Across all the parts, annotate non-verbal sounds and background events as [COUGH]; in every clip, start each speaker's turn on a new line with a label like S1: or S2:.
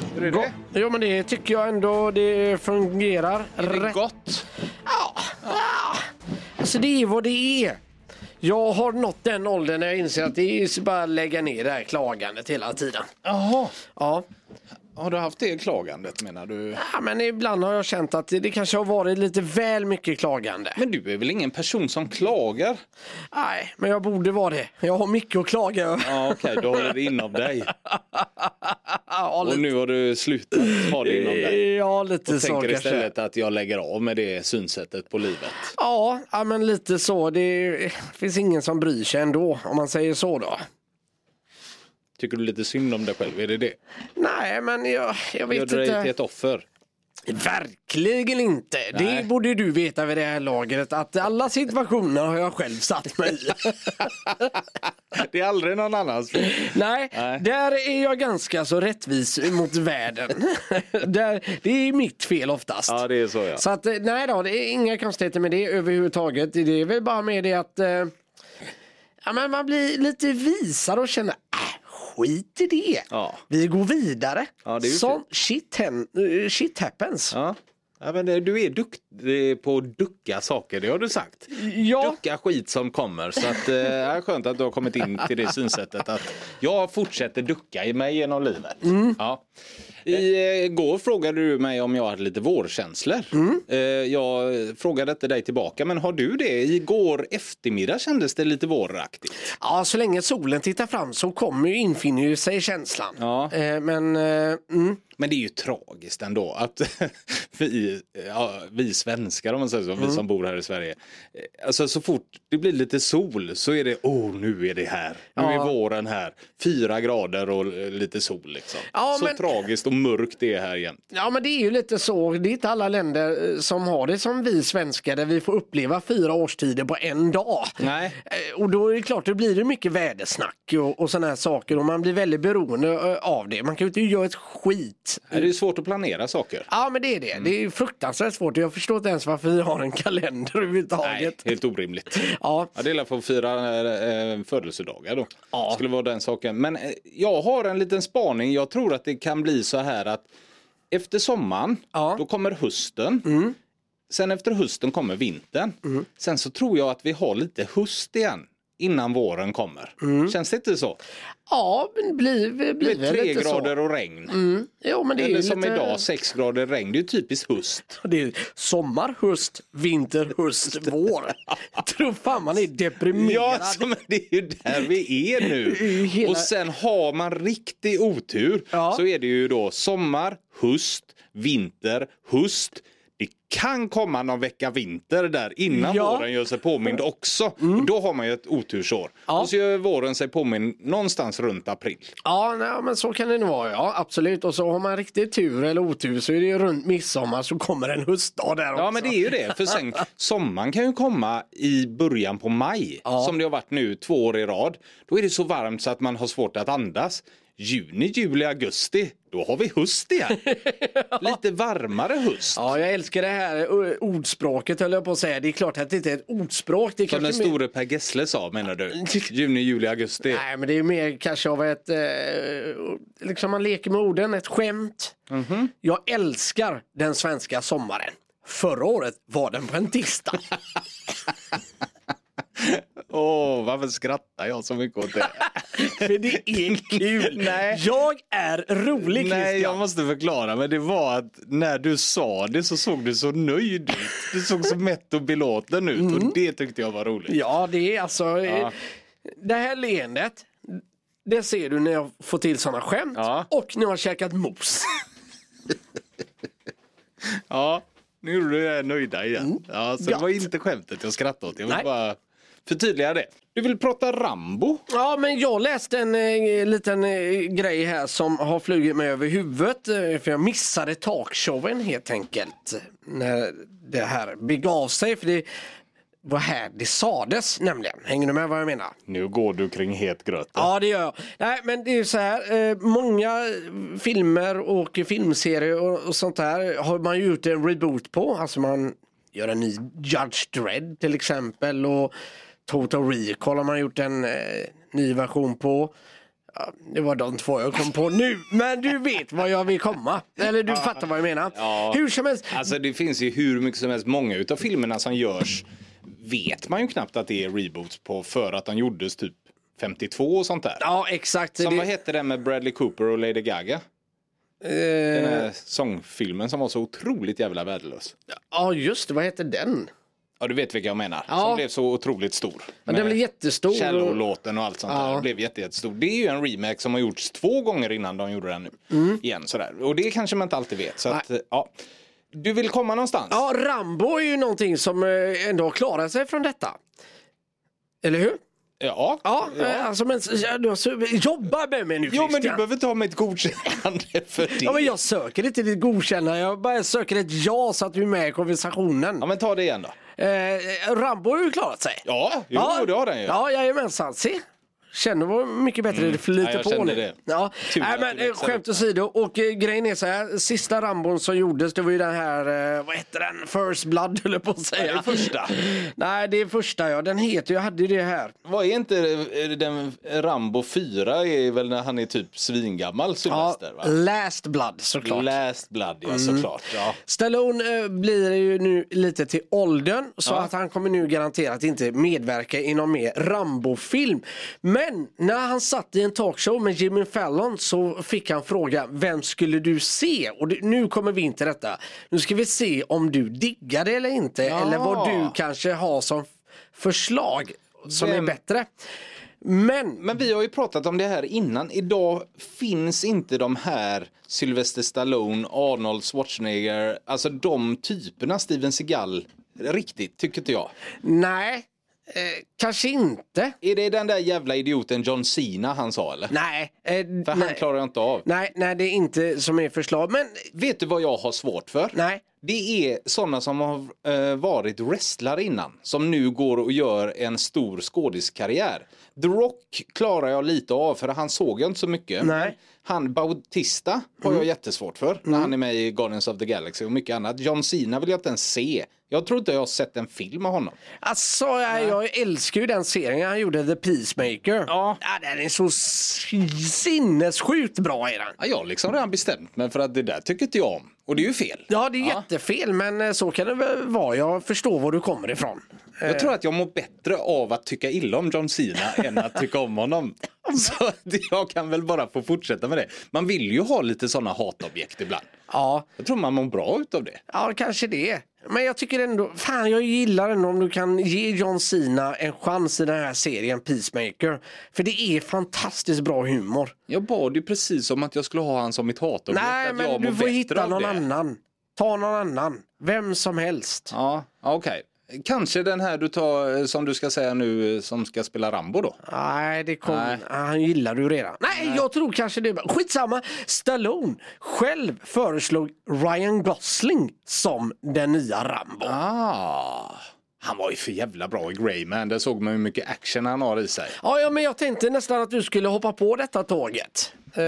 S1: Tycker du det?
S2: Jo, men det tycker jag ändå. Det fungerar.
S1: Är det
S2: rätt.
S1: gott?
S2: Alltså, det är vad det är. Jag har nått den åldern när jag inser att det är så bara att lägga ner det här klagandet hela tiden.
S1: Jaha.
S2: Ja.
S1: Har du haft det klagandet menar du?
S2: ja, men ibland har jag känt att det kanske har varit lite väl mycket klagande.
S1: Men du är väl ingen person som klagar?
S2: Nej, men jag borde vara det. Jag har mycket att klaga över.
S1: Ja okej, du håller det inom dig.
S2: [LAUGHS] Ja,
S1: Och
S2: lite,
S1: nu har du slutat ha det inom dig.
S2: ja, lite
S1: Och
S2: så
S1: tänker
S2: kanske.
S1: istället att jag lägger av med det synsättet på livet.
S2: Ja, ja, men lite så. Det finns ingen som bryr sig ändå, om man säger så då.
S1: Tycker du lite synd om dig själv? Är det det?
S2: Nej, men jag, jag
S1: Gör
S2: vet
S1: du dig till
S2: inte.
S1: ett offer?
S2: Verkligen inte.
S1: Nej.
S2: Det borde du veta vid det här lagret att alla situationer har jag själv satt mig i.
S1: [LAUGHS] [LAUGHS] Det är aldrig någon annans fel.
S2: Nej,
S1: Nej.
S2: där är jag ganska så rättvis mot
S1: [LAUGHS]
S2: världen. där, det är mitt fel oftast.
S1: Ja, det är så ja.
S2: Så att eh, nej då, det är inga konstigheter med det överhuvudtaget. Det är väl bara med det att eh, ja, men man blir lite visare och känner äh, skit i det.
S1: Ja.
S2: Vi går vidare.
S1: Ja, det är ju
S2: Sån shit, hen, eh, shit happens.
S1: Ja. Ja, men eh, du är duktig på att ducka saker, det har du sagt.
S2: Ja.
S1: Ducka skit som kommer. Så att, eh, det är skönt att du har kommit in till det synsättet att jag fortsätter ducka i mig genom livet. Ja. I, eh, går frågade du mig om jag hade lite vårkänslor. Eh, jag frågade inte dig tillbaka, men har du det? Igår eftermiddag kändes det lite våraktigt.
S2: Ja, så länge solen tittar fram så kommer ju infinner ju sig känslan.
S1: Ja.
S2: Eh, men eh, mm.
S1: Men det är ju tragiskt ändå att [LAUGHS] vi, ja, vi svenskar, om man säger så,
S2: Mm.
S1: vi som bor här i Sverige. eh, Alltså så fort det blir lite sol så är det, oh nu är det här, nu
S2: Ja.
S1: är våren här, fyra grader och eh, lite sol liksom.
S2: Ja,
S1: så
S2: men- Mm.
S1: tragiskt och mörkt det är här igen.
S2: Ja men det är ju lite så, det är inte alla länder eh, som har det som vi svenskar där vi får uppleva fyra årstider på en dag.
S1: Nej.
S2: Eh, Och då är det klart, då blir det mycket vädersnack och, och sådana här saker och man blir väldigt beroende eh, av det. Man kan ju inte göra ett skit.
S1: Det är ju svårt att planera saker.
S2: Ja men det är det, det är ju fruktansvärt svårt jag förstår inte ens varför vi har en kalender
S1: Nej,
S2: överhuvudtaget.
S1: helt orimligt.
S2: Ja,
S1: Ja, det är väl för att fira eh, födelsedagar då.
S2: Ja.
S1: Skulle vara den saken. Men eh, jag har en liten spaning. Jag tror att det kan bli så här att efter sommaren,
S2: Ja. Mm.
S1: då kommer hösten. Sen efter hösten kommer vintern. Sen så tror jag att vi har lite höst igen innan våren kommer.
S2: Mm.
S1: Känns det inte så?
S2: ja men blir,
S1: Det
S2: blir
S1: är
S2: väl
S1: tre
S2: lite
S1: grader
S2: så.
S1: och regn.
S2: Mm. Jo, men det är
S1: Eller
S2: ju
S1: som
S2: lite...
S1: idag, sex grader regn. Det är ju typiskt höst.
S2: Det är sommar, höst, vinter, höst, vår. Jag tror fan man är deprimerad.
S1: Ja, alltså, men det är ju där vi är nu.
S2: [LAUGHS] Det är ju hela-
S1: Och sen har man riktig otur
S2: Ja.
S1: så är det ju då sommar, höst, vinter, höst. Det kan komma någon vecka vinter där innan
S2: Ja. Mm.
S1: våren gör sig påmind också. Då har man ju ett otursår.
S2: Ja.
S1: Och så gör våren sig påmind någonstans runt april.
S2: Ja, nej, men så kan det nog vara. Ja, absolut. Och så har man riktigt tur eller otur så är det ju runt midsommar så kommer en höstdag där också.
S1: Ja men det är ju det, för sen sommaren kan ju komma i början på maj
S2: Ja.
S1: som det har varit nu två år i rad. Då är det så varmt så att man har svårt att andas. Juni, juli, augusti, då har vi
S2: [LAUGHS]
S1: höst igen. Lite varmare höst.
S2: Ja, jag älskar det här ö, ordspråket höll jag på att säga. Det är klart att det inte är ett ordspråk. Det är
S1: Som
S2: kanske
S1: den
S2: mer-
S1: store Per Gessle sa
S2: [LAUGHS]
S1: menar du? Juni, juli, augusti.
S2: Nej, men det är mer kanske av ett, eh, liksom man leker med orden, ett skämt.
S1: Mhm.
S2: Jag älskar den svenska sommaren. Förra året var den på en tisdag.
S1: Åh, varför skrattar jag så mycket åt det?
S2: [LAUGHS] För det är [LAUGHS] kul.
S1: Nej.
S2: Jag är rolig
S1: Nej, jag
S2: Christian.
S1: måste förklara. Men det var att när du sa det så såg du så nöjd ut. Du såg så mätt och belåten ut och det tyckte jag var roligt.
S2: Mm. Ja, det är alltså. eh,
S1: Ja.
S2: Det här leendet. Det ser du när jag får till sådana skämt
S1: Ja.
S2: och när jag har käkat mos. [LAUGHS]
S1: Ja, nu gjorde du det nöjda igen. Ja, så
S2: Gött.
S1: det var inte skämtet jag skrattade åt. Jag vill
S2: Mm. Nej.
S1: bara förtydliga det. Du vill prata Rambo?
S2: Ja, men jag läste en eh, liten eh, grej här som har flugit mig över huvudet. Eh, för jag missade talkshowen helt enkelt. När det här begav sig. För det var här det sades nämligen. Hänger du med vad jag menar?
S1: Nu går du kring het gröt.
S2: Ja det gör jag. Nej men det är ju så här. Eh, många filmer och filmserier och, och sånt där har man ju gjort en reboot på. Alltså man gör en ny Judge Dredd till exempel och Total Recall har man gjort en eh, ny version på. Ja, Det var de två jag kom på nu, men du vet vad jag vill komma. Eller du fattar vad jag menar.
S1: Ja.
S2: Hur som helst,
S1: Alltså det finns ju hur mycket som helst. Många utav filmerna som görs vet man ju knappt att det är reboots på för att de gjordes typ 52 och sånt där.
S2: ja exakt.
S1: Som
S2: det,
S1: vad hette den med Bradley Cooper och Lady Gaga? Den
S2: eh,
S1: här sångfilmen som var så otroligt jävla värdelös.
S2: ja just det, vad heter den?
S1: Ja, du vet vilka jag menar.
S2: Ja.
S1: Som blev så otroligt stor.
S2: Ja, den
S1: Med
S2: blev jättestor. och-
S1: Shallow-låten och allt sånt
S2: Ja.
S1: där. Blev jätte, jättestor. Det är ju en remake som har gjorts två gånger innan de gjorde den nu.
S2: Mm.
S1: Igen sådär. Och det kanske man inte alltid vet. Så att, eh, ja. Du vill komma någonstans?
S2: Ja, Rambo är ju någonting som eh, ändå har klarat sig från detta. Eller hur?
S1: Ja.
S2: Ja, eh, alltså men ja, du har su- jobba med mig nu
S1: Jo men du
S2: Christian.
S1: behöver inte ha mitt godkännande för det.
S2: Ja, men jag söker inte ditt godkännande, jag bara söker ett ja så att du är med i konversationen.
S1: Ja, men ta det igen då.
S2: Eh, Rambo har ju klarat sig.
S1: Ja, jo det har den ju. Mm.
S2: Ja, jajamensan. Se. Känner vad mycket bättre det
S1: Ja,
S2: flyter
S1: jag
S2: på
S1: kände
S2: nu.
S1: det.
S2: Ja.
S1: Tur
S2: Nej,
S1: att
S2: men,
S1: det
S2: eh,
S1: växer
S2: skämt åsido, och eh, grejen är så här, sista Rambon som gjordes det var ju den här, eh, vad hette den, First Blood höll jag på att säga.
S1: det är första.
S2: [LAUGHS] Nej det är första ja, den heter, jag hade ju det här.
S1: Vad är inte eh, den Rambo 4 är väl när han är typ svingammal
S2: Ja,
S1: Sylvester va?
S2: Last Blood såklart.
S1: Last blood ja
S2: Mm.
S1: såklart. Ja.
S2: Stallone eh, blir ju nu lite till åldern så att han kommer nu garanterat inte medverka i någon mer Rambo-film. Men när han satt i en talkshow med Jimmy Fallon så fick han frågan vem skulle du se? Och det, nu kommer vi in till detta. Nu ska vi se om du diggar det eller inte
S1: Ja.
S2: eller vad du kanske har som förslag som
S1: Vem-
S2: är bättre. Men
S1: Men vi har ju pratat om det här innan. Idag finns inte de här Sylvester Stallone, Arnold Schwarzenegger, alltså de typerna Steven Seagal riktigt tycker inte jag.
S2: nej, eh, kanske inte.
S1: Är det den där jävla idioten John Cena han sa eller?
S2: Nej, eh,
S1: För han
S2: nej.
S1: klarar jag inte av.
S2: nej, nej, det är inte som är förslag. Men
S1: Vet du vad jag har svårt för?
S2: nej.
S1: Det är sådana som har eh, varit wrestlare innan som nu går och gör en stor skådiskarriär. The Rock klarar jag lite av för han såg jag inte så mycket.
S2: Nej.
S1: Han Bautista har jag jättesvårt för när han är med i Guardians of the Galaxy och mycket annat. John Cena vill jag inte ens se. Jag tror inte jag har sett en film av honom.
S2: Alltså jag, jag älskar ju den serien han gjorde, The Peacemaker.
S1: Ja.
S2: den är så s- sinnessjukt bra är den.
S1: Ja, jag har liksom redan bestämt mig för att det där tycker inte jag om. Och det är ju fel.
S2: Ja det är jättefel men eh, så kan det väl vara. Jag förstår var du kommer ifrån.
S1: Jag tror att jag mår bättre av att tycka illa om
S2: [LAUGHS]
S1: John Cena än att tycka om honom. Så att jag kan väl bara få fortsätta med det. Man vill ju ha lite sådana hatobjekt ibland.
S2: Ja,
S1: Jag tror man mår bra utav det.
S2: ja kanske det. Men jag tycker ändå, fan jag gillar ändå om du kan ge John Cena en chans i den här serien Peacemaker. För det är fantastiskt bra humor.
S1: Jag bad ju precis om att jag skulle ha han som mitt hatobjekt.
S2: Nej
S1: att
S2: men
S1: jag mår
S2: du får
S1: bättre
S2: hitta
S1: av
S2: någon
S1: det.
S2: annan. Ta någon annan. Vem som helst.
S1: Ja, ja, okej. Kanske den här du tar eh, som du ska säga nu eh, som ska spela Rambo då.
S2: Nej, det kom...
S1: Nej.
S2: Ah, Han gillar du redan. Nej, jag tror kanske det. Skitsamma. Stallone själv föreslog Ryan Gosling som den nya Rambo.
S1: Ah, han var ju för jävla bra i Greyman. Där såg man hur mycket action han har i sig.
S2: Ja, ja, men jag tänkte nästan att du skulle hoppa på detta tåget. Eh,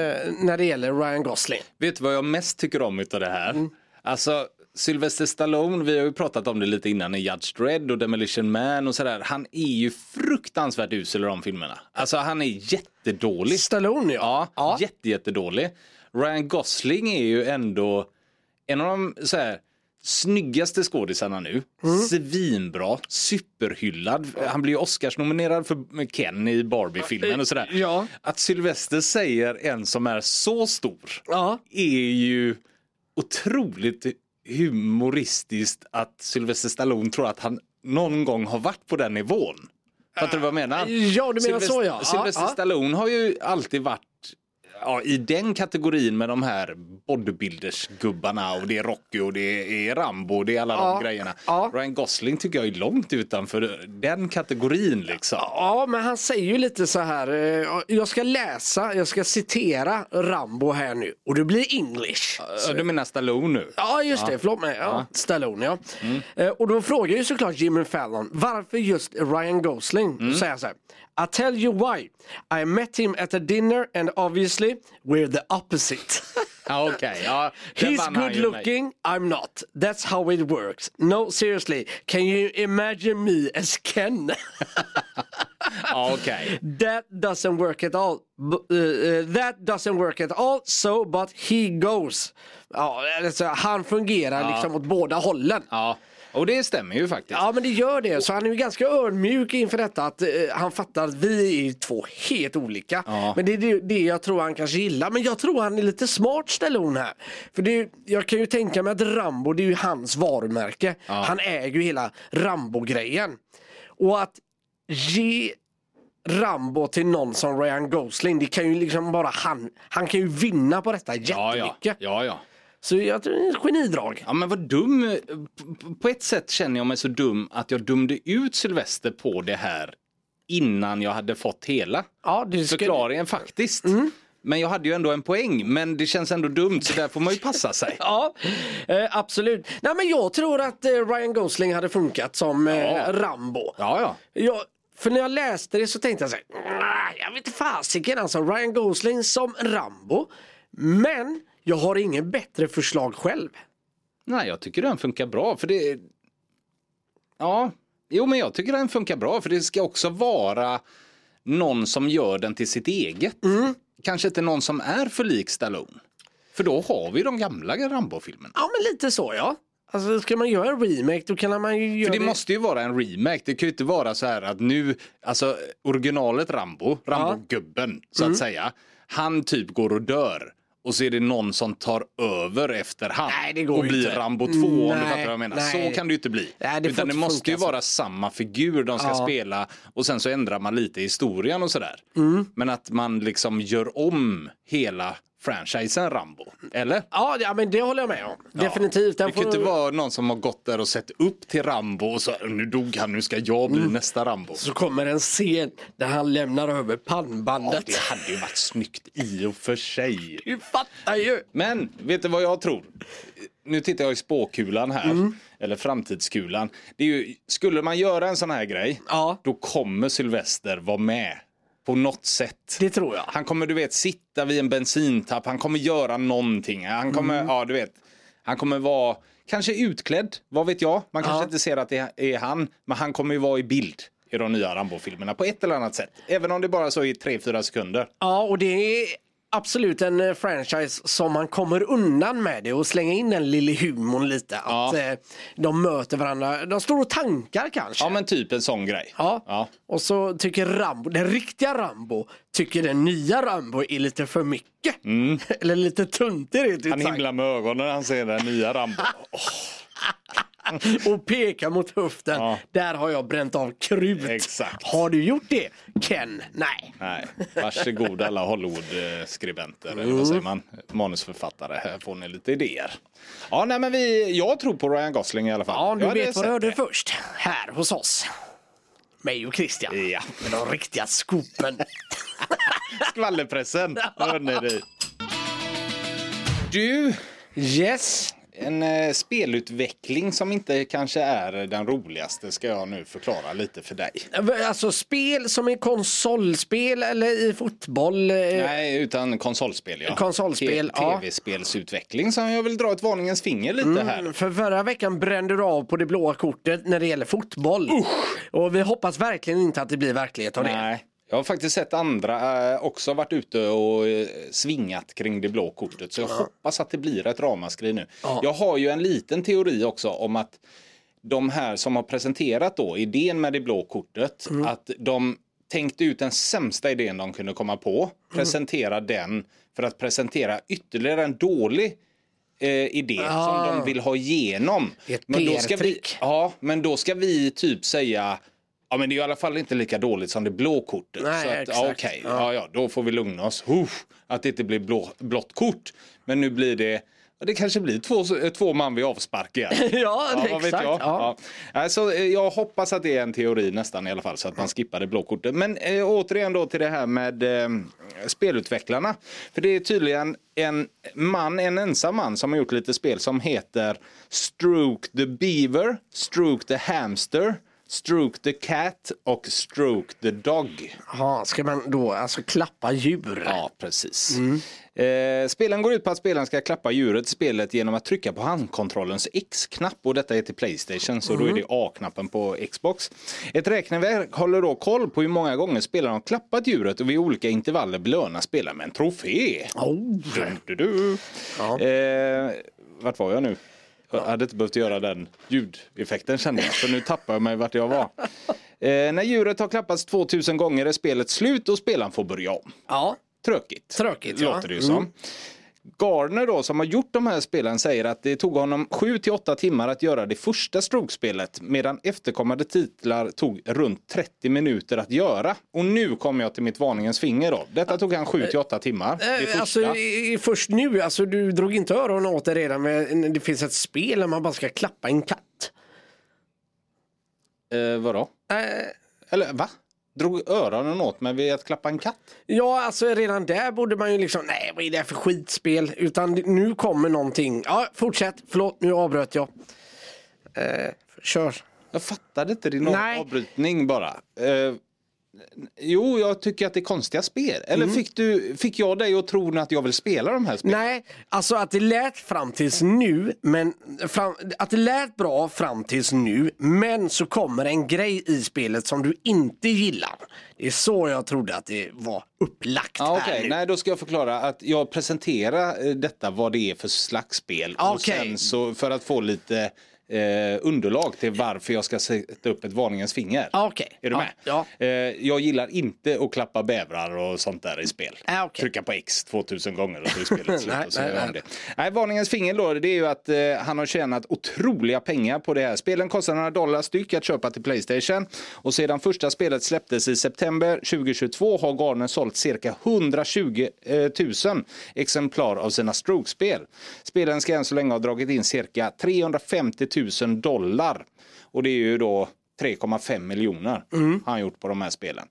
S2: när det gäller Ryan Gosling.
S1: Vet du vad jag mest tycker om utav det här? Alltså Sylvester Stallone, vi har ju pratat om det lite innan i Judge Dredd och Demolition Man och sådär. Han är ju fruktansvärt usel i de filmerna. Alltså han är jättedålig.
S2: Stallone ja.
S1: Ja, jätte, jättedålig. Ryan Gosling är ju ändå en av de så här, snyggaste skådisarna nu.
S2: Mm.
S1: Svinbra, superhyllad. Han blir ju Oscarsnominerad för Ken i Barbie-filmen och sådär.
S2: Ja.
S1: Att Sylvester säger en som är så stor
S2: ja.
S1: är ju otroligt humoristiskt att Sylvester Stallone tror att han någon gång har varit på den nivån. Fattar du vad jag menar?
S2: Ja, du menar
S1: Sylvester-
S2: så ja. ja,
S1: Sylvester
S2: ja.
S1: Stallone har ju alltid varit ja, i den kategorin med de här bodybuilders-gubbarna och det är Rocky och det är Rambo och det är alla
S2: Ja,
S1: de grejerna.
S2: ja.
S1: Ryan Gosling tycker jag är långt utanför den kategorin liksom.
S2: Ja, men han säger ju lite så här. eh, Jag ska läsa, jag ska citera Rambo här nu och det blir English.
S1: Ja, Du menar Stallone nu?
S2: Ja just det, förlåt mig. Ja, Stallone ja.
S1: Mm.
S2: Eh, och då frågar ju såklart Jimmy Fallon varför just Ryan Gosling?
S1: Mm.
S2: Då säger han så här. I tell you why. I met him at a dinner and obviously we're the opposite.
S1: Ja, okej. Ja, [LAUGHS] den
S2: He's
S1: vann han
S2: good
S1: ju med.
S2: looking, I'm not. That's how it works. No seriously, can you imagine me as Ken?
S1: Ja, okej.
S2: [LAUGHS] That doesn't work at all. B- eh, eh, that doesn't work at all, so but he goes. Ja, alltså, han fungerar liksom åt båda hållen.
S1: Ja, och det stämmer ju faktiskt.
S2: Ja men det gör det, så han är ju ganska ödmjuk inför detta att eh, han fattar att vi är två helt olika.
S1: Ja.
S2: Men det är det, det jag tror han kanske gillar, men jag tror han är lite smart ställer hon här. För det är, ju- jag kan ju tänka mig att Rambo, det är ju hans varumärke. Han äger ju hela Rambo-grejen. Och att ge Rambo till någon som Ryan Gosling, det kan ju liksom bara han, han kan ju vinna på detta
S1: Ja, ja.
S2: jättemycket.
S1: ja, ja.
S2: Så jag tror det är ett genidrag.
S1: Ja men vad dum. P- På ett sätt känner jag mig så dum att jag dömde ut Sylvester på det här innan jag hade fått hela
S2: Ja, du
S1: förklaringen faktiskt.
S2: Mm.
S1: Men jag hade ju ändå en poäng, men det känns ändå dumt så där får man ju passa sig.
S2: [LAUGHS] Ja, eh, absolut. Nej, men jag tror att eh, Ryan Gosling hade funkat som eh,
S1: Ja.
S2: Rambo.
S1: Ja, ja.
S2: Jag, för när jag läste det så tänkte jag så här, "Nah, jag vet inte fasiken alltså, Ryan Gosling som Rambo. Men jag har ingen bättre förslag själv.
S1: Nej, jag tycker den funkar bra för det... Ja, jo men jag tycker den funkar bra för det ska också vara någon som gör den till sitt eget. Kanske inte någon som är för lik Stallone. För då har vi de gamla Rambo-filmerna.
S2: Ja, men lite så ja. Alltså ska man göra en remake då kan man ju göra
S1: För det måste ju vara en remake. Det kan ju inte vara så här att nu, alltså originalet Rambo, Rambo-gubben så
S2: Mm.
S1: att säga, han typ går och dör. Och så är det någon som tar över efter han
S2: Nej, det går
S1: och
S2: ju
S1: blir
S2: inte.
S1: Rambo 2 om du
S2: Nej,
S1: fattar vad jag menar.
S2: nej.
S1: Så kan det ju inte bli.
S2: Nej, det får
S1: Utan det
S2: inte
S1: måste
S2: funka
S1: ju
S2: så.
S1: vara samma figur de ska spela och sen så ändrar man lite i historien och sådär.
S2: Mm.
S1: Men att man liksom gör om hela franchisen Rambo. Eller?
S2: Ja, ja, men det håller jag med om. Definitivt. Den
S1: Det kan
S2: får-
S1: ju inte vara någon som har gått där och sett upp till Rambo och så nu dog han, nu ska jag bli nästa Rambo.
S2: Mm. Så kommer en scen där han lämnar över pannbandet.
S1: Det hade ju varit snyggt i och för sig.
S2: [LAUGHS] Du fattar ju.
S1: Men vet du vad jag tror? Nu tittar jag i spåkulan här,
S2: Mm.
S1: eller framtidskulan. Det är ju, skulle man göra en sån här grej,
S2: Ja.
S1: då kommer Sylvester vara med på något sätt.
S2: Det tror jag.
S1: Han kommer du vet sitta vid en bensintapp, han kommer göra någonting. Han kommer,
S2: Mm.
S1: ja du vet, han kommer vara kanske utklädd, vad vet jag. Man kanske
S2: Ja.
S1: inte ser att det är han, men han kommer ju vara i bild i de nya Rambo-filmerna på ett eller annat sätt. Även om det bara så i 3-4 sekunder.
S2: Ja, och det är absolut en eh, franchise som man kommer undan med det och slänga in den lille humorn lite. Att eh, de möter varandra. De står och tankar kanske.
S1: Ja men typ en sån grej.
S2: Ja.
S1: Ja.
S2: Och så tycker Rambo, den riktiga Rambo, tycker den nya Rambo är lite för mycket. [LAUGHS] Eller lite tuntig rent ut
S1: Mm. Han
S2: sagt.
S1: himlar med ögonen när han ser den nya Rambo. [LAUGHS] Åh,
S2: [LAUGHS] Och pekar mot höften.
S1: Ja.
S2: Där har jag bränt av krut.
S1: Exakt.
S2: Har du gjort det Ken? Nej.
S1: nej, varsågod alla Hollywood-skribenter, eller vad säger man? Manusförfattare, här får ni lite idéer. Ja, nej men vi, jag tror på Ryan Gosling i alla fall.
S2: Ja, du
S1: Jag hade
S2: vet vad du
S1: sett
S2: hörde
S1: det.
S2: först. Här hos oss. Mig och Christian.
S1: Ja.
S2: Med de riktiga skopen. [LAUGHS]
S1: Skvallerpressen, hör ni det. Du,
S2: Yes.
S1: en eh, spelutveckling som inte kanske är den roligaste ska jag nu förklara lite för dig.
S2: Alltså spel som är konsolspel eller i fotboll. eh,
S1: Nej, utan konsolspel. Ja.
S2: Konsolspel,
S1: T-
S2: ja. Mm.
S1: Tv-spelsutveckling som jag vill dra ett varningens finger lite här.
S2: För förra veckan brände du av på det blåa kortet när det gäller fotboll. Och vi hoppas verkligen inte att det blir verklighet av det.
S1: Nej. Jag har faktiskt sett andra eh, också varit ute och eh, svingat kring det blå kortet. Så jag hoppas att det blir ett ramaskri nu.
S2: Ja.
S1: Jag har ju en liten teori också om att de här som har presenterat då idén med det blå kortet,
S2: Mm.
S1: att de tänkte ut den sämsta idén de kunde komma
S2: Mm.
S1: på, presentera den för att presentera ytterligare en dålig eh, idé
S2: Ah.
S1: som de vill ha igenom.
S2: Ett
S1: Men då ska vi,
S2: PR-trick.
S1: ja, men då ska vi typ säga Ja men det är ju i alla fall inte lika dåligt som det blå kortet.
S2: Nej,
S1: så att, ja,
S2: exakt.
S1: okej,
S2: Ja.
S1: ja. Ja, då får vi lugna oss. Huff, att det inte blir blå, blått kort. Men nu blir det, ja, det kanske blir två, två man vid avspark igen.
S2: [LAUGHS] Ja,
S1: Ja, vad
S2: exakt.
S1: vet jag.
S2: Ja.
S1: Ja. Alltså, eh, jag hoppas att det är en teori nästan i alla fall så att man skippar det blå kortet. Men eh, återigen då till det här med eh, spelutvecklarna. För det är tydligen en man, en ensam man som har gjort lite spel som heter Stroke the Beaver, Stroke the Hamster, Stroke the cat och stroke the dog.
S2: Ja, ska man då alltså klappa djur?
S1: Ja, precis. Eh, spelen går ut på att spelaren ska klappa djuret i spelet genom att trycka på handkontrollens X-knapp och detta är till Playstation så då är det A-knappen på Xbox. Ett räkneverk håller då koll på hur många gånger spelaren har klappat djuret och vid olika intervaller belönar spelaren med en trofé.
S2: Oh.
S1: Dun, du, du.
S2: Ja.
S1: Eh, vart var jag nu? Jag hade inte behövt göra den ljudeffekten kände jag, för nu tappar jag mig vart jag var. Eh, när djuret har klappats 2000 gånger är spelet slut och spelaren får börja om.
S2: ja.
S1: Tråkigt.
S2: Tråkigt, ja.
S1: Låter det ju som. Gardner Mm. då som har gjort de här spelen säger att det tog honom 7 till 8 timmar att göra det första Stroke-spelet medan efterkommande titlar tog runt 30 minuter att göra. Och nu kommer jag till mitt varningens finger då. Detta tog han 7 till 8 timmar. Det
S2: Eh,
S1: första.
S2: Alltså, i- i- först nu, alltså, du drog inte öronen åt dig redan men det finns ett spel där man bara ska klappa en katt.
S1: Eh, vadå?
S2: Eh,
S1: Eller va? Drog öronen åt mig vid att klappa en katt?
S2: Ja, alltså redan där borde man ju liksom, nej vad är det här för skitspel? Utan nu kommer någonting. Ja, fortsätt, förlåt nu avbröt jag. Eh, kör.
S1: Jag fattade inte din
S2: Nej.
S1: avbrytning bara. Eh, jo, jag tycker att det är konstiga spel. Eller
S2: Mm.
S1: fick, du, fick jag dig att tro att jag vill spela de här spelen?
S2: Nej, alltså att det lät fram tills nu, men fram, att det lät bra fram tills nu, men så kommer en grej i spelet som du inte gillar. Det är så jag trodde att det var upplagt
S1: Ja,
S2: här
S1: Ah, okej.
S2: nu.
S1: Nej, då ska jag förklara att jag presenterar eh, detta vad det är för slags spel. Och
S2: Okej.
S1: sen så för att få lite eh, underlag till varför jag ska sätta upp ett varningens finger.
S2: Ja, Ah, Okej.
S1: Är du med?
S2: Ja.
S1: Eh, jag gillar inte att klappa bävrar och sånt där i spel.
S2: Ja, Ah, okej.
S1: Trycka på X 2000 gånger och så är [LAUGHS] spelet slut.
S2: Nej,
S1: och så
S2: nej,
S1: gör han
S2: nej.
S1: det. Nej, varningens finger då, det är ju att eh, han har tjänat otroliga pengar på det här. Spelen kostar några dollar styck att köpa till Playstation. Och sedan första spelet släpptes i september 2022 har Garner sålt cirka 120 eh, 000 exemplar av sina Stroke-spel. Spelen ska än så länge ha dragit in cirka 350 000 dollar. Och det är ju då 3,5 miljoner har han gjort på de här spelen.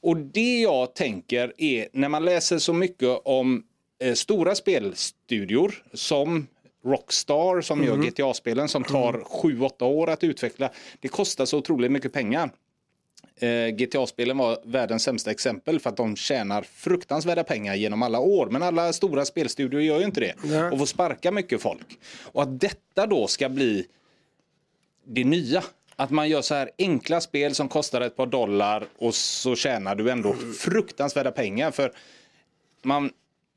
S1: Och det jag tänker är, när man läser så mycket om eh, stora spelstudior som Rockstar som gör GTA-spelen som tar 7-8 år att utveckla. Det kostar så otroligt mycket pengar. Eh, GTA-spelen var världens sämsta exempel för att de tjänar fruktansvärda pengar genom alla år. Men alla stora spelstudior gör ju inte det
S2: Nej.
S1: och får sparka mycket folk. Och att detta då ska bli det nya. Att man gör så här enkla spel som kostar ett par dollar och så tjänar du ändå fruktansvärda pengar. För man,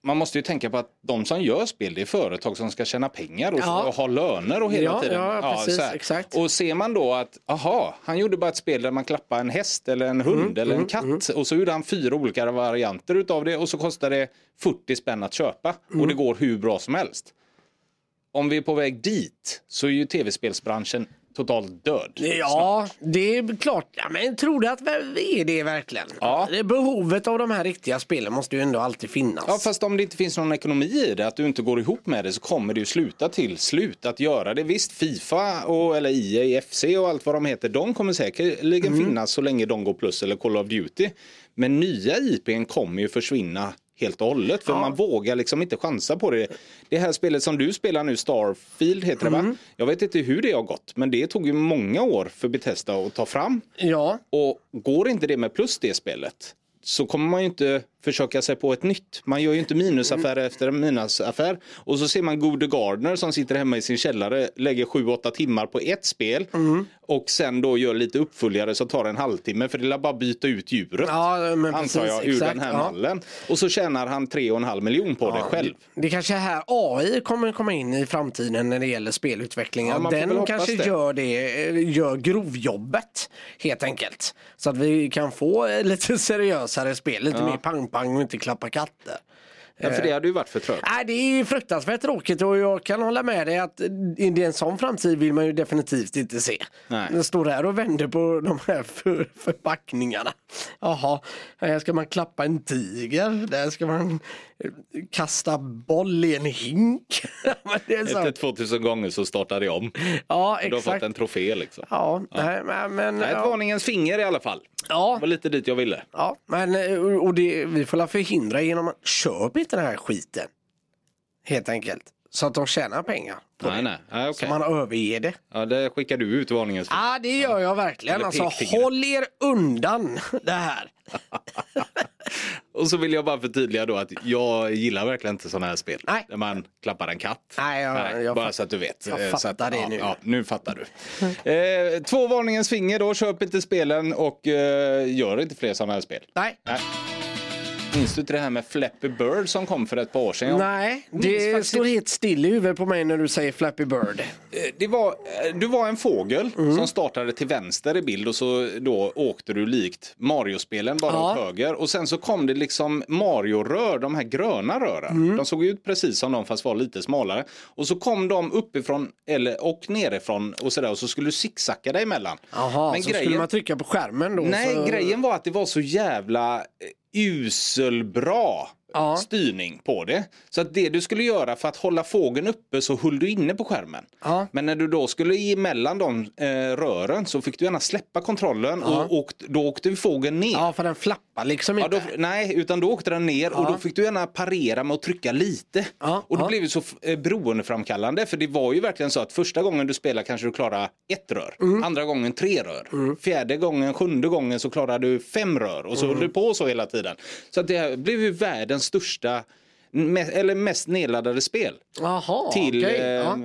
S1: man måste ju tänka på att de som gör spel det är företag som ska tjäna pengar och,
S2: Ja.
S1: och ha löner och hela
S2: Ja,
S1: tiden.
S2: ja, precis,
S1: så här.
S2: exakt.
S1: Och ser man då att, aha, han gjorde bara ett spel där man klappar en häst eller en
S2: Mm,
S1: hund eller en katt och så gjorde han fyra olika varianter utav det och så kostar det 40 spänn att köpa
S2: Mm.
S1: och det går hur bra som helst. Om vi är på väg dit så är ju tv-spelsbranschen totalt död.
S2: Ja, det är klart. Ja, men tror du att vi är det verkligen?
S1: Ja.
S2: Det är behovet av de här riktiga spelen måste ju ändå alltid finnas.
S1: Ja, fast om det inte finns någon ekonomi i det, att du inte går ihop med det så kommer det ju sluta till slut att göra det. Visst, Fifa och eller E EA, FC och allt vad de heter, de kommer säkerligen finnas så länge de går plus eller Call of Duty. Men nya IPn kommer ju försvinna helt och hållet för man vågar liksom inte chansa på det. Det här spelet som du spelar nu, Starfield heter det va? Jag vet inte hur det har gått men det tog ju många år för Bethesda att ta fram.
S2: Ja,
S1: Och går inte det med plus det spelet så kommer man ju inte försöka sig på ett nytt. Man gör ju inte minusaffär
S2: Mm.
S1: efter minusaffär. Och så ser man Gode Gardner som sitter hemma i sin källare, lägger 7-8 timmar på ett spel
S2: Mm.
S1: och sen då gör lite uppföljare som tar en halvtimme för det är bara byta ut djuret.
S2: ja men precis.
S1: antar jag, ur
S2: exakt,
S1: den här
S2: ja.
S1: mallen. Och så tjänar han 3,5 miljon på det själv.
S2: Det kanske är här AI kommer komma in i framtiden när det gäller
S1: Ja,
S2: spelutvecklingen.
S1: man får väl
S2: den
S1: hoppas
S2: kanske
S1: det.
S2: gör det, eh, gör grovjobbet helt enkelt. Så att vi kan få eh, lite [LAUGHS] seriösare spel, lite mer pang-pang och inte klappa katter.
S1: Ja,
S2: eh,
S1: för det hade ju varit för trögt.
S2: Nej, det är ju fruktansvärt tråkigt och jag kan hålla med dig att i det en sån framtid vill man ju definitivt inte se.
S1: Nej.
S2: Jag står här och vänder på de här för, förpackningarna. Jaha, här ska man klappa en tiger, där ska man eh, kasta boll i en hink. [LAUGHS] Men det är så.
S1: Efter 2000 gånger så startade jag om.
S2: Ja,
S1: Du har fått
S2: exakt.
S1: en trofé liksom.
S2: Ja, nej, men, men,
S1: Nej, Ett
S2: ja,
S1: varningens finger i alla fall. Det
S2: ja,
S1: var lite dit jag ville.
S2: ja, men eh, och och det, vi får la förhindra genom att köp inte den här skiten. Helt enkelt. Så att de tjänar pengar. på det.
S1: Nej, nej. Ah,
S2: Så
S1: okay.
S2: man överger det.
S1: ja, det skickar du ut varningens finger.
S2: Ja, det gör jag verkligen.
S1: Eller
S2: Alltså,
S1: pekfingret.
S2: håll er undan det här.
S1: [LAUGHS] Och så vill jag bara förtydliga då att jag gillar verkligen inte sådana här spel.
S2: Nej.
S1: Där man klappar en katt.
S2: Nej, jag- jag
S1: bara
S2: fatt-
S1: så att du vet.
S2: jag
S1: Eh, så
S2: fattar
S1: att,
S2: det
S1: ja,
S2: nu.
S1: Ja, nu fattar du. Eh, två varningens finger då, köp inte spelen och eh, gör inte fler sådana här spel.
S2: Nej.
S1: Minns du inte det här med Flappy Bird som kom för ett par år sedan? Jag-
S2: Nej,
S1: minns
S2: det
S1: faktiskt
S2: står helt still i huvudet på mig när du säger Flappy Bird.
S1: Eh, Det var, eh, du var en fågel
S2: Mm.
S1: som startade till vänster i bild och så då åkte du likt Mario-spelen bara
S2: Ja.
S1: åt höger. Och sen så kom det liksom Mario-rör, de här gröna rören.
S2: Mm.
S1: De såg ut precis som de fast var lite smalare. Och så kom de uppifrån eller, och nerifrån och sådär och så skulle du zigzacka dig emellan.
S2: Jaha,
S1: Men
S2: så
S1: grejen-
S2: skulle man trycka på skärmen då?
S1: Nej,
S2: så...
S1: grejen var att det var så jävla eh, uselbra
S2: Ja.
S1: styrning på det. Så att det du skulle göra för att hålla fågeln uppe så höll du inne på skärmen.
S2: Ja.
S1: Men när du då skulle emellan de eh, rören så fick du gärna släppa kontrollen och åkt, då åkte ju fågeln ner.
S2: Ja, för den flappar liksom
S1: Ja,
S2: inte.
S1: då, nej, utan då åkte den ner och då fick du gärna parera med att trycka lite.
S2: Ja,
S1: och det
S2: ja.
S1: blev ju så eh, beroendeframkallande för det var ju verkligen så att första gången du spelar kanske du klarar ett rör,
S2: Mm.
S1: andra gången tre rör, fjärde gången, sjunde gången så klarar du fem rör och så höll
S2: Mm.
S1: du på så hela tiden. Så att det här blev ju världens största me- eller mest nedladdade spel
S2: Jaha,
S1: till
S2: okej.
S1: eh,
S2: Ja.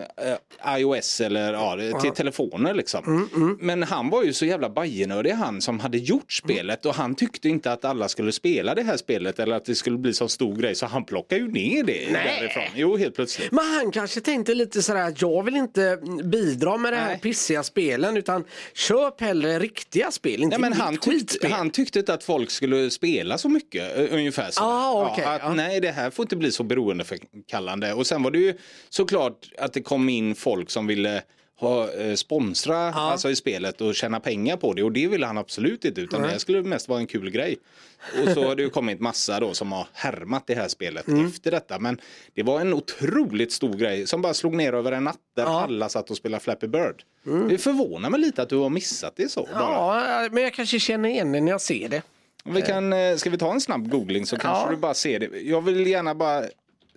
S1: eh, iOS eller ja, det- till telefoner liksom.
S2: Mm,
S1: Men han var ju så jävla bajenördig han som hade gjort
S2: Mm.
S1: spelet och han tyckte inte att alla skulle spela det här spelet eller att det skulle bli så stor grej så han plockade ju ner det
S2: Nej.
S1: därifrån. Jo, helt plötsligt.
S2: Men han kanske tänkte lite sådär att jag vill inte bidra med det här
S1: Nej.
S2: pissiga spelen utan köp hellre riktiga spel, inte
S1: Nej, men han, tyckte,
S2: skitspel.
S1: han tyckte inte att folk skulle spela så mycket, ö- ungefär så.
S2: Ah, okej,
S1: att,
S2: ja.
S1: Nej, det här får inte bli så beroendeförkallande. Och sen var det ju såklart att det kom in folk som ville ha, eh, sponsra alltså, i spelet och tjäna pengar på det och det ville han absolut inte utan det här skulle mest vara en kul grej. Och så har det ju kommit massa då som har härmat det här spelet
S2: Mm.
S1: efter detta men det var en otroligt stor grej som bara slog ner över en natt där alla satt och spelade Flappy Bird. Det förvånar mig lite att du har missat det så. Bara.
S2: Mm. Ja, men jag kanske känner igen det när jag ser det.
S1: Vi kan, eh, ska vi ta en snabb googling så kanske
S2: Ja.
S1: du bara ser det. Jag vill gärna bara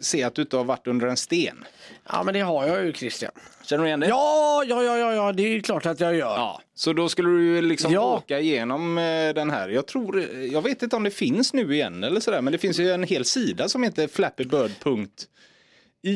S1: se att du inte har varit under en sten.
S2: Ja, men det har jag ju Christian.
S1: Känner du igen det? Ja.
S2: Ja, ja, ja, ja, ja det är ju klart att jag gör. Ja.
S1: Så då skulle du ju liksom
S2: Ja.
S1: åka igenom eh, den här. Jag tror, eh, jag vet inte om det finns nu igen eller sådär men det finns ju en hel sida som heter flappybird.io.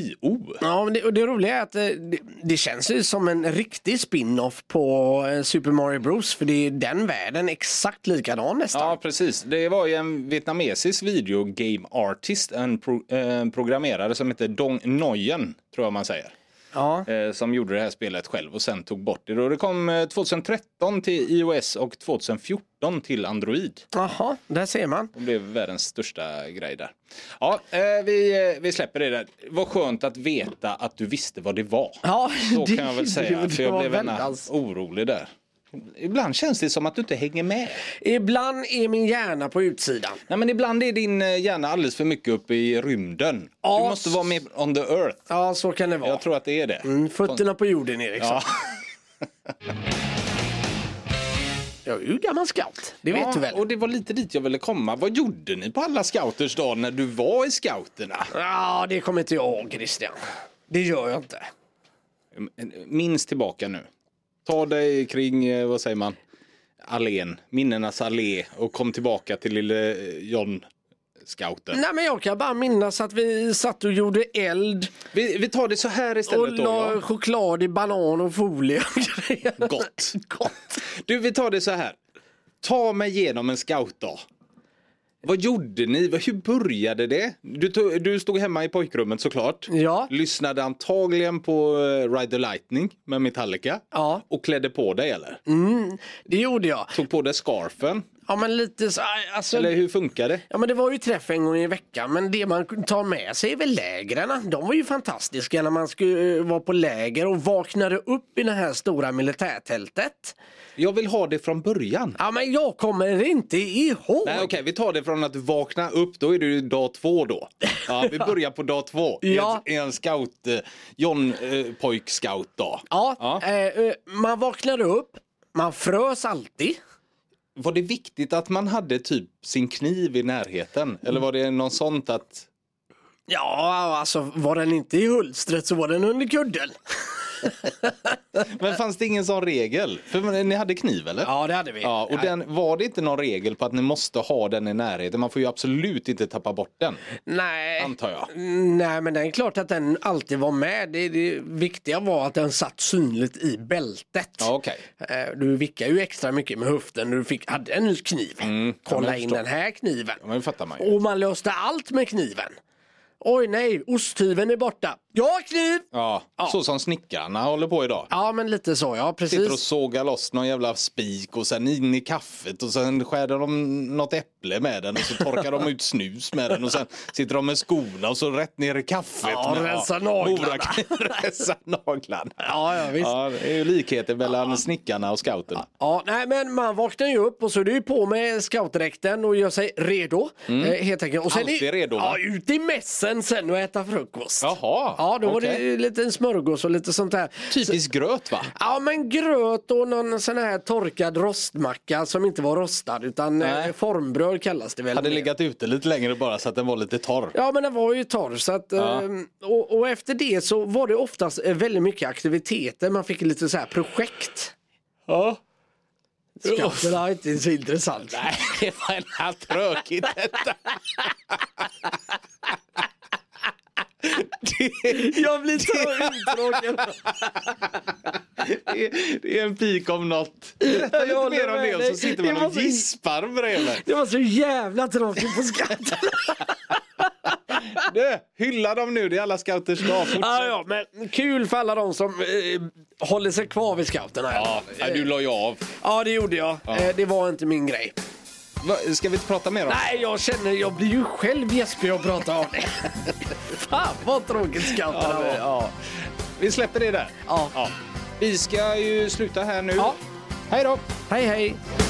S2: Ja, men det, och det roliga är att eh, det, det känns ju som en riktig spin-off på eh, Super Mario Bros. För det är den världen exakt likadan nästan.
S1: Ja, precis. Det var ju en vietnamesisk videogame artist, en pro, eh, en programmerare som heter Dong Nguyen, tror jag man säger.
S2: Ja.
S1: eh, som gjorde det här spelet själv och sen tog bort det. Och det kom eh, 2013 till iOS och 2014 till Android.
S2: Jaha, där ser man.
S1: Det blev världens största grej där. Ja, eh, vi, eh, vi släpper det där. Vad skönt att veta att du visste vad
S2: [LAUGHS]
S1: det var.
S2: Ja,
S1: Så
S2: det-
S1: kan jag väl
S2: det-
S1: säga,
S2: det
S1: för jag
S2: var alltså.
S1: blev
S2: väldigt-
S1: ena orolig där. Ibland känns det som att du inte hänger med.
S2: Ibland är min hjärna på utsidan.
S1: Nej, men ibland är din eh, hjärna alldeles för mycket uppe i rymden.
S2: Ja,
S1: Du måste vara med on the earth.
S2: Ja, så kan det vara.
S1: Jag tror att det är det.
S2: Mm, Fötterna på jorden Eriksson.
S1: Ja.
S2: Jag är ju gammal scout, det
S1: Ja,
S2: vet du väl?
S1: Och det var lite dit jag ville komma. Vad gjorde ni på alla scouters dag när du var i scouterna?
S2: Ja, det kommer inte jag ihåg Christian. Det gör jag inte.
S1: Minns tillbaka nu. Ta dig kring, eh, vad säger man, allén, minnenas allé och kom tillbaka till lille eh, John. Scouten.
S2: Nej, men jag kan bara minnas att vi satt och gjorde eld
S1: Vi, vi tar det så här
S2: och
S1: istället då.
S2: la
S1: Ja.
S2: choklad i banan och folie och [LAUGHS] grejer.
S1: Gott.
S2: Gott.
S1: Du, vi tar det så här. Ta mig igenom en scoutdag. Vad gjorde ni? Vad- Hur började det? Du, tog, du stod hemma i pojkrummet såklart.
S2: Ja.
S1: Lyssnade antagligen på eh, Ride the Lightning med Metallica.
S2: Ja. Mm.
S1: Och klädde på dig eller?
S2: Det gjorde jag.
S1: Tog på dig scarfen?
S2: Ja, men lite så, aj, alltså,
S1: Eller hur funkar det?
S2: Ja men det var ju träff en gång i veckan men det man tar med sig är väl lägren. De var ju fantastiska när man skulle eh, vara på läger och vaknade upp i det här stora militärtältet.
S1: Jag vill ha det från början.
S2: Ja men jag kommer inte ihåg.
S1: Nej okej, vi tar det från att vakna upp, då är det ju dag två då. Ja,
S2: [LAUGHS]
S1: vi börjar på dag två. I
S2: Ja.
S1: en, i en scout, eh, John eh, pojk scout dag.
S2: Ja,
S1: Ja.
S2: eh, eh, man vaknade upp, man frös alltid.
S1: Var det
S2: Mm.
S1: viktigt att man hade typ sin kniv i närheten? Eller var det någon sånt att
S2: Ja, alltså var den inte i hulstret så var den under kudden. Äh.
S1: Men fanns det ingen sån regel? För ni hade kniv eller?
S2: Ja, det hade vi.
S1: Ja, och den, var det inte någon regel på att ni måste ha den i närheten? Man får ju absolut inte tappa bort den,
S2: Nej.
S1: antar jag.
S2: Nej, men det är klart att den alltid var med. Det, det viktiga var att den satt synligt i bältet.
S1: Ja, okej.
S2: Eh, Du vickade ju extra mycket med höften när du fick, hade en kniv.
S1: Mm, ja,
S2: Kolla
S1: men
S2: in
S1: förstå-
S2: den här kniven.
S1: Ja, men det fattar man ju.
S2: Och man löste allt med kniven. Oj nej, osthyveln är borta. Ja, kniv!
S1: Ja, så som snickarna håller på idag.
S2: Ja, men lite så ja,
S1: Sitter och
S2: precis.
S1: sågar loss någon jävla spik och sen in i kaffet och sen skär de något äpple med den och så torkar de ut snus med den och sen sitter de med skorna och så rätt ner i kaffet.
S2: Ja,
S1: med,
S2: rensa naglarna.
S1: Morak- [LAUGHS] rensa naglarna.
S2: Ja, ja, visst.
S1: Ja, det är ju likheter mellan snickarna och scouten.
S2: Ja, nej men man vaknar ju upp och så är det ju på med scoutdräkten och gör sig redo. Eh, helt enkelt. Och sen
S1: Mm. Alltid
S2: är-
S1: redo, va?
S2: Ja, ut i mässen sen och äta frukost.
S1: Jaha,
S2: Ja, då var det
S1: okej.
S2: ju lite smörgås och lite sånt där.
S1: Typiskt gröt va?
S2: Ja men gröt och någon sån här torkad rostmacka som inte var rostad utan
S1: Nej.
S2: eh, formbröd kallas det väl.
S1: Hade legat ute lite längre bara så att den var lite torr.
S2: Ja men den var ju torr så att, eh,
S1: Ja.
S2: och, och efter det så var det oftast eh, väldigt mycket aktiviteter, man fick lite så här projekt.
S1: Ja.
S2: Skatten är inte så intressant.
S1: Nej, [LAUGHS] det var en tråkigt detta. Det-
S2: Jag blir [LAUGHS] så uttråkad.
S1: Det är, det är en pik om något. Berätta
S2: Jag
S1: lite mer
S2: håller
S1: om
S2: med
S1: det och
S2: dig.
S1: så sitter
S2: Det
S1: man
S2: var
S1: och
S2: så-
S1: gispar bredvid.
S2: Det var så jävla tråkigt på skatten.
S1: Du, hylla dem nu, det är alla scouters dag. Fortsätt.
S2: [LAUGHS] ja, ja, men kul för alla de som eh, håller sig kvar vid scouterna.
S1: Ja, nej, du la ju av.
S2: ja det gjorde jag. Eh, det var inte min grej.
S1: Va, Ska vi inte prata mer om det?
S2: Nej, jag känner, jag blir ju själv Jesper jag pratar om det. [LAUGHS] Fan vad tråkigt scouterna
S1: Ja, men,
S2: var.
S1: ja. Vi släpper det där.
S2: Ja.
S1: Vi ska ju sluta här nu.
S2: Ja.
S1: Hej då!
S2: Hej hej.